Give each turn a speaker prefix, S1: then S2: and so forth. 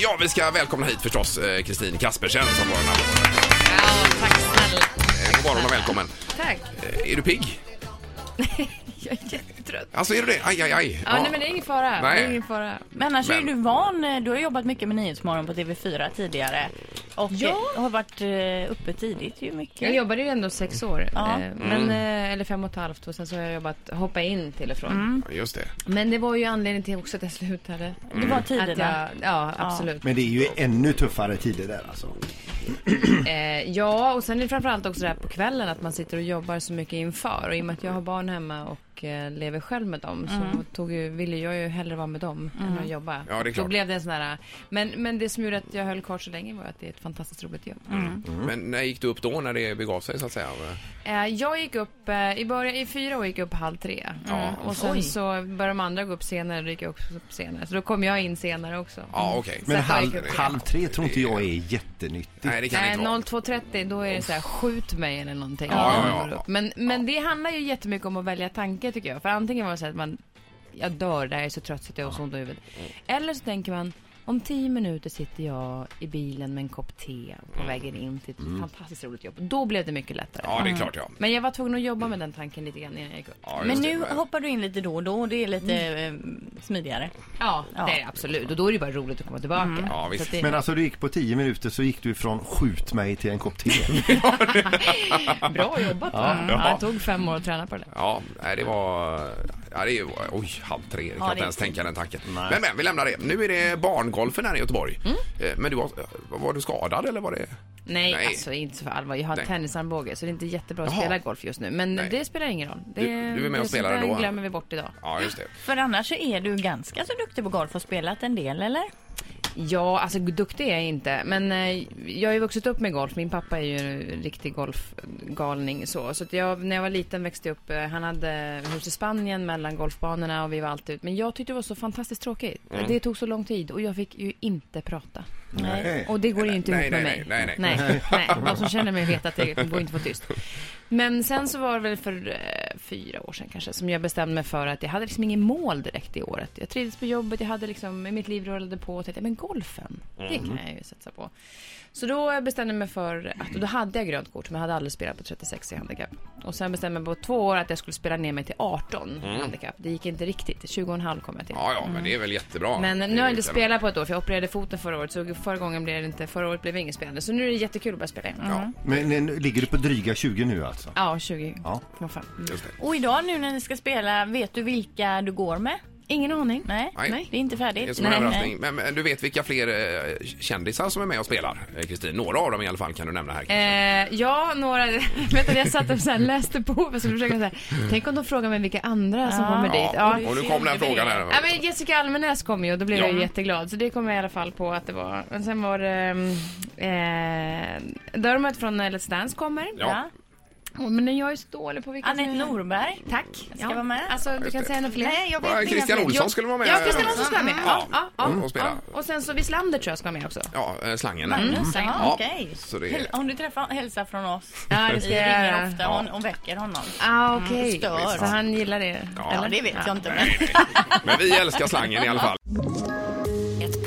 S1: Ja, vi ska välkomna hit förstås eh, Kristin Kaspersen som var den här
S2: Ja, tack snälla.
S1: Eh, God morgon och välkommen.
S2: Tack.
S1: Eh, Är du pigg?
S2: Jag är jättetrött.
S1: Alltså är du det? Aj, aj, aj.
S2: Ja, nej men det är ingen fara.
S1: Nej.
S2: Det är ingen fara.
S3: Men annars är
S1: Men-
S3: ju du van. eh, Du har jobbat mycket med Nyhetsmorgon på TV4 tidigare. Och
S2: Ja.
S3: eh, har varit eh, uppe tidigt ju mycket.
S2: Jag jobbade ju ändå sex år.
S3: Ja.
S1: Mm.
S2: eh, Men, eh, eller fem och ett halvt och sen så har jag jobbat, hoppa in till och från.
S1: Ja, Just det.
S2: Men det var ju anledningen till också att jag slutade.
S3: Det var
S2: Att
S3: tiderna.
S2: jag, Mm. ja, absolut.
S4: Men det är ju ännu tuffare tider där alltså.
S2: Eh, ja, och sen är det framförallt också det här på kvällen att man sitter och jobbar så mycket inför. Och i och med att jag har barn hemma och eh, lever själv med dem så tog ju, ville jag ju hellre vara med dem än att jobba.
S1: Mm. Ja, det är klart.
S2: Då blev det en sån här, men, men det som gjorde att jag höll kvar så länge var att det är ett fantastiskt roligt jobb.
S1: Men när gick du upp då när det begav sig så att säga?
S2: Eh, Jag gick upp, eh, i, början, i fyra år gick jag upp halv tre. Mm.
S1: Ja.
S2: Och sen
S3: Oj.
S2: så började de andra gå upp senare, då gick jag också upp senare. Så då kom jag in senare också.
S1: Ja, okej.
S4: Men
S2: Så att jag gick
S4: halv,
S2: upp-
S4: halv tre tror inte jag är jättenyttigt.
S1: Nej, det kan
S2: Mm. Nej,
S1: inte vara.
S2: 02.30 då är det så här skjut mig eller någonting.
S1: Ja,
S2: När
S1: ja,
S2: man
S1: ja,
S2: går
S1: ja.
S2: upp. Men, men det handlar ju jättemycket om att välja tanke tycker jag. För antingen var det så här att man, jag dör där, jag är så trött så att jag har så ont i huvudet. Eller så tänker man, om tio minuter sitter jag i bilen med en kopp te på vägen in till ett fantastiskt roligt jobb. Då blev det mycket lättare.
S1: Mm. Ja, det är klart ja.
S2: Men jag var tvungen att jobba med den tanken lite grann innan jag gick upp.
S1: ja
S3: Men
S1: just det.
S3: nu hoppar du in lite då och då och det är lite
S2: Mm.
S3: eh, smidigare.
S2: Ja,
S3: Ja.
S2: det är det absolut. Och då är det bara roligt att komma tillbaka.
S1: Mm. Ja, visst.
S2: Så att det,
S4: Men alltså du gick på tio minuter så gick du från skjut mig till en kopp te.
S2: Bra jobbat va? Ja, det tog fem år att träna på det.
S1: Ja, nej, det var... Ja, det är, oj, halv tre. Jag kan
S3: Ja, det
S1: inte
S3: är
S1: ens
S3: tid.
S1: tänka den tanken. Men, men vi lämnar det. Nu är det barngolfen här i Göteborg.
S2: Mm.
S1: Eh, Men du var, var du skadad eller var det...
S2: Nej,
S1: Nej.
S2: alltså inte så för allvar. Jag har
S1: Nej.
S2: tennisarmbåge så det är inte jättebra att
S1: Jaha.
S2: spela golf just nu. Men
S1: Nej.
S2: det spelar ingen roll. Det,
S1: Du- du är med och
S2: det
S1: spelar
S2: sånt där
S1: ändå,
S2: glömmer vi bort idag.
S1: Ja, just det.
S3: För annars så är du ganska så duktig på golf och spelat en del eller?
S2: Ja, alltså duktig är jag inte. Men eh, jag har ju vuxit upp med golf. Min pappa är ju en riktig golfgalning. Så, så att jag, när jag var liten växte jag upp. eh, Han hade hus i Spanien mellan golfbanorna och vi var alltid ut. Men jag tyckte det var så fantastiskt tråkigt.
S1: Mm.
S2: Det tog så lång tid och jag fick ju inte prata.
S4: Nej.
S2: Och det går ju inte
S1: Nej,
S2: ihop med
S1: nej,
S2: mig.
S1: nej, nej, nej.
S2: nej. nej, De som känner mig vet att det går inte att få tyst. Men sen så var det väl för eh, fyra år sedan kanske som jag bestämde mig för att jag hade liksom ingen mål direkt i året. Jag trivdes på jobbet, jag hade liksom, mitt liv rullade på och tänkte, men golfen, det
S1: Mm.
S2: kan jag ju satsa på. Så då bestämde jag mig för att, och då hade jag grönt kort men jag hade aldrig spelat på 36 i handikapp. Och sen bestämde jag mig på två år att jag skulle spela ner mig till 18 i handikapp. Det gick inte riktigt, 20,5 kom jag till.
S1: Mm. Ja, ja, men det är väl jättebra.
S2: Mm. Men nu har
S1: Det är
S2: jag
S1: ju
S2: inte
S1: kanon.
S2: spelat på ett år för jag opererade foten förra året så förra gången blev det inte, förra året blev det inget spelande. Så nu är det jättekul att börja spela igen.
S1: Ja,
S4: Men eh, nu ligger du på dryga 20 nu alltså?
S2: Ja, 20.
S4: Ja.
S2: Vad fan.
S1: just det.
S3: Och idag nu när ni ska spela, vet du vilka du går med?
S2: Ingen aning.
S3: Nej,
S1: Nej.
S3: det är inte
S1: Det är
S3: färdigt.
S1: som en
S3: Nej.
S1: överraskning. Men, men du vet vilka fler eh, kändisar som är med och spelar, eh, Kristin? Några av dem i alla fall kan du nämna här. kanske.
S2: Eh, ja, några, vet du, jag satt och så här, läste på och så försökte jag så här, tänk om de frågar mig vilka andra som
S3: Ja.
S2: kommer dit. Ja.
S1: Och nu kom den frågan här.
S2: Ja, men Jessica Almenäs kom ju och då blev
S1: Ja.
S2: jag ju jätteglad. Så det kom jag i alla fall på att det var. Men sen var det... ehm, Eh, Dermot från eh, Let's Dance kommer.
S1: Ja.
S2: Åh, men jag är så dålig på vilka som
S3: Anette
S2: är-
S3: Norberg.
S2: Mm. Tack.
S3: Ska vara med.
S2: Alltså, du
S1: Just
S2: kan
S1: det.
S2: säga något fler.
S3: Nej, jag vet
S1: Vad,
S3: inga
S1: Christian
S3: fler.
S1: Olsson skulle vara med.
S2: Ja, Christian Olsson ska vara med. Ja, ja, ja,
S1: Mm, och spela.
S2: ja. Och sen så Wislander tror jag ska vara med också.
S1: Ja, eh, slangen. där.
S3: Magnus,
S2: Mm.
S3: ja,
S1: Ja,
S3: okej.
S1: så det är-
S3: Häl- Om du träffar hälsa från oss.
S2: Eh, Ja, det ska
S3: Vi
S2: jag
S3: ringer
S2: göra.
S3: ofta hon, och väcker honom.
S2: Ah, okej.
S3: Stör.
S2: Så han gillar det?
S1: Ja.
S3: Ja, det vet jag inte. Men...
S1: Nej, nej. Men vi älskar slangen i alla fall.
S5: Ett